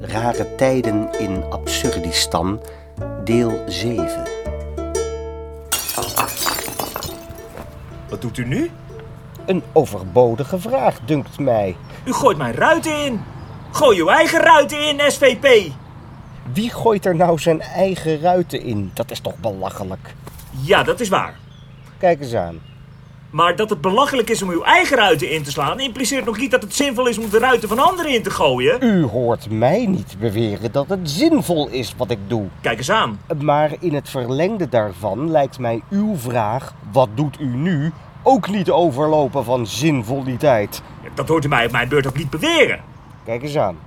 Rare tijden in Absurdistan, deel 7. Wat doet u nu? Een overbodige vraag, dunkt mij. U gooit mijn ruit in. Gooi uw eigen ruit in, SVP. Wie gooit er nou zijn eigen ruiten in? Dat is toch belachelijk? Ja, dat is waar. Kijk eens aan. Maar dat het belachelijk is om uw eigen ruiten in te slaan, impliceert nog niet dat het zinvol is om de ruiten van anderen in te gooien. U hoort mij niet beweren dat het zinvol is wat ik doe. Kijk eens aan. Maar in het verlengde daarvan lijkt mij uw vraag: wat doet u nu? ook niet overlopen van zinvoliteit. Dat hoort u mij op mijn beurt ook niet beweren. Kijk eens aan.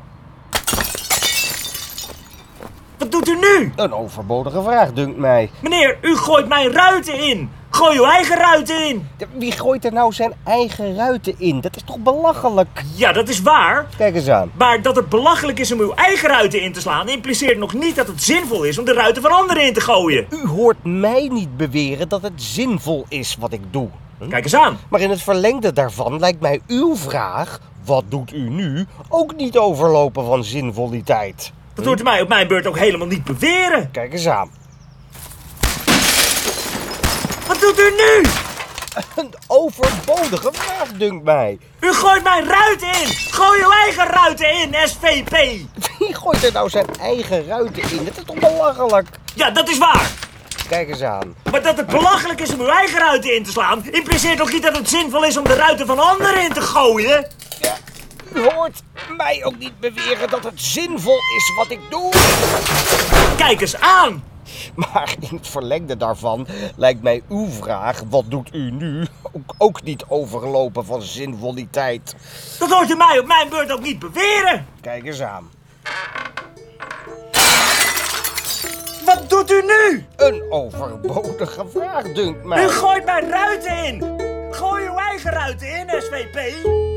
Wat doet u nu? Een overbodige vraag, dunkt mij. Meneer, u gooit mijn ruiten in. Gooi uw eigen ruiten in. Wie gooit er nou zijn eigen ruiten in? Dat is toch belachelijk? Ja, dat is waar. Kijk eens aan. Maar dat het belachelijk is om uw eigen ruiten in te slaan, impliceert nog niet dat het zinvol is om de ruiten van anderen in te gooien. U hoort mij niet beweren dat het zinvol is wat ik doe. Kijk eens aan. Maar in het verlengde daarvan lijkt mij uw vraag, wat doet u nu, ook niet overlopen van zinvoliteit. Dat hoort u mij op mijn beurt ook helemaal niet beweren. Kijk eens aan. Wat doet u nu? Een overbodige vraag, dunkt mij. U gooit mijn ruiten in. Gooi uw eigen ruiten in, SVP. Wie gooit er nou zijn eigen ruiten in? Dat is toch belachelijk? Ja, dat is waar. Kijk eens aan. Maar dat het belachelijk is om uw eigen ruiten in te slaan, impliceert ook niet dat het zinvol is om de ruiten van anderen in te gooien. Ja, u hoort mij ook niet beweren dat het zinvol is wat ik doe. Kijk eens aan. Maar in het verlengde daarvan lijkt mij uw vraag, wat doet u nu, ook, ook niet overlopen van zinvoliteit. Dat hoort u mij op mijn beurt ook niet beweren. Kijk eens aan. Wat doet u nu? Een overbodige vraag, dunkt mij. U gooit mijn ruiten in. Gooi uw eigen ruiten in, SVP.